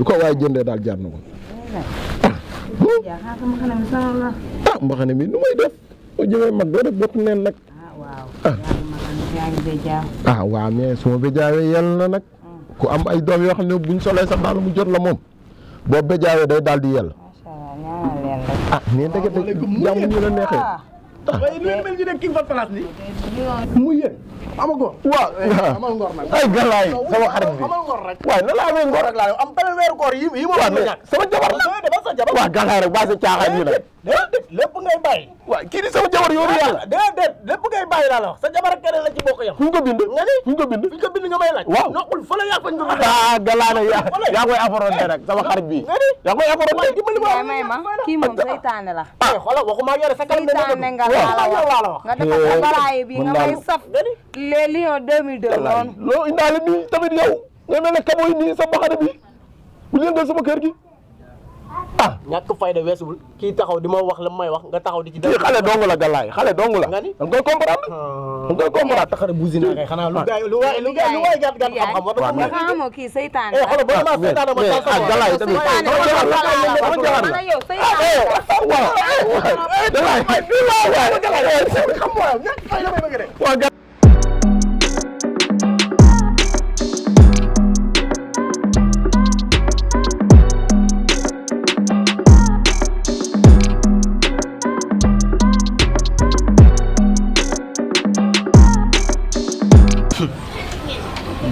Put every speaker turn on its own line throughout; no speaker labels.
waay jëndee daal jaar na ma. ah mbaxane mi nu may def boo jëmee mag doo def bopp neen nag ah waaw mais su ma bejaawee yal na nag ku am ay doom yoo xam ne buñ solee sax daal mu jot la moom boo bejaawee day daal di yal ah mais ndekete jàmm ñu la neexee
waaye nu mel ñu ne king fat place ni
mu yéen ama góor
waaw
Eh, amal ngor nag
ay galaay sama xarit bi
amal ngor rek
waaye na la amee ngor rek
laa am beneen weeru koor yi yi ma
waaw mais sama jabar la
sooy defal sa jabar
waaw galaay rek baa sa caaxaan
Eh,
yi nag
déedéet lépp ngay bàyyi
waaw kii di sama jabar yoonu
Eh,
yàlla
déedéet lépp ngay bàyyi laa la wax sa jabar ak keneen la ci bokk yam
fu ñu ko bind
nga ni
fu ñu ko bind
fi ñu ko bind nga may laaj
Waaw.
noqul fa la yaa fañ ko bind
ah galaay nag yaa yaa koy affronté nag sama xarit bi yaa koy affronté
yaay may ma kii moom seytaane la
ah xoolal waxuma ak yow de sa kanam
seytaane nga laa la
yow laa la
wax
wax
nga defal sa baraaye bi
mën
nga
naa
may
la-
saf les lions 2002 noonu
loo indaale nii tamit yow nga mel ne kabo yi nii sa mbaxane bi bu leen dal sama kër gi ah
ñàkk fayda weesuwul kii taxaw di ma wax la may wax nga taxaw di ci
kii xale dong la galaay xale dong la
Nga ni?
da nga koy comprendre da nga koy comprendre
taxare busi naa kay xanaa lu gaay lu waay lu gaay lu waay gàtt gàtt xam-xam war na
Waaw,
ko mën
mais-
a
xamoo kii seytaane
eh
la
xoolal boo dama seetaana ma saa
ah galaay tamit
seytaane la
sama jabar la
la
sama jabar la
man yow seytaane la
waaw galaay waaw waay
xam waaw ñàkk fayda may bëgg de
waaw galaay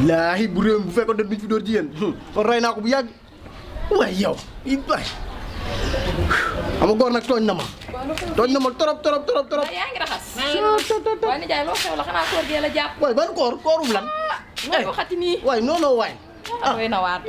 laahi bu réew mi bu fekkoon dañ bi ñu fi door jigéen kon rey naa ko bu yàgg waaye yow i bay ama góor nag tooñ na ma tooñ na ma torop torop torop torop
yaa ngi raxas. waaye nijaay loo xew la xanaa koor gee la jàpp.
waaye ban koor koorum lan
ngay
Eh,
waxati nii.
waaye non non waay
ah doy na waar.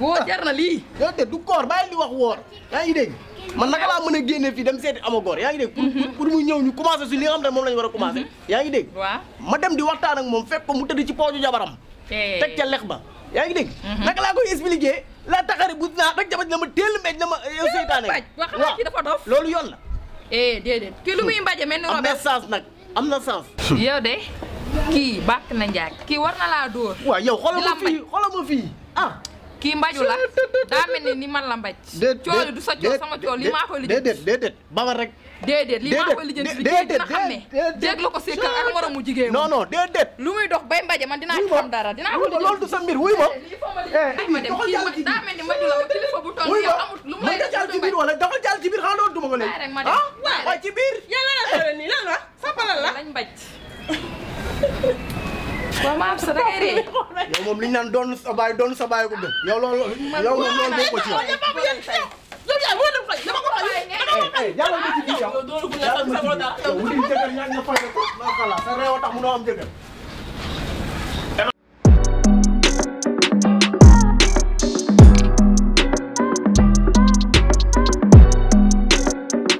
woo jar na lii.
yow de du koor bàyyi di wax woor yaa ngi dégg man naka laa mën a génne fii dem seeti ama góor yaa ngi dégg pour pour mu ñëw ñu commencé su li nga xam ne moom la ñu war a commencé yaa ngi dégg
waaw.
ma dem di waxtaan ak moom fekk ko mu tëdd ci pooju jabaram teg ca lex ba yaa ngi dégg naka laa koy expliqué la taxari bu naa rek jabat na ma teel meej na ma yow seytaane
baaj wax naa ci dafa dof.
loolu yoon la
eh déedéet kii lu muy mbaje mel ni
am na
Robert.
sens nag am na sens
yow de kii bàkk na njaag. kii war na laa dóor.
waaw yow xoolal ma
Lambaj.
fii xoolal ma fii ah
kii mbaju la daa mel ni ni man la mbaj. cooli du sa cool sama cool lii maa koy lijjanti.
déedéet déedéet babar rek
déedéet lii maa koy lijjanti bi jigéen dina xam ne.
déedéet
jéeg la ko sekkal ak moromu jigéen
non non déedéet
lu muy dox bay mbaje man dinaa ci xam dara dinaa ko
wuy ma
lijjanti.
loolu du sa mbir wuy ma
lii foo ma lijjanti. ay ma dem kii ma daa mel ni mbaju la ma kilifa bu toll
wuy
yow amut lu
ma
mu lay
mën nga
def
jàll
lu
ci
dul
biir
mbaj.
wala doxal jàll ci biir xanaa loolu duma ko léegi
Bàyyi rek ma dem.
ah
Bàyyi rek.
waaye ci biir
yàlla la solo nii lan la sa balal la
lañ mbaj. waaw maa am sa dangay ree.
yow moom li ñu naan doon sa baay doon sa baay ko gën yow loolu yow moom loolu boo ko ci yow
papa yéen yow yow yaay moo dem fay dama ko fay
yàlla nga ci biir yow
yow doolu bu la sam sa
yow wuti jëkkër ñaan nga fay ko maa xalaat sa réew a tax munoo am jëkkër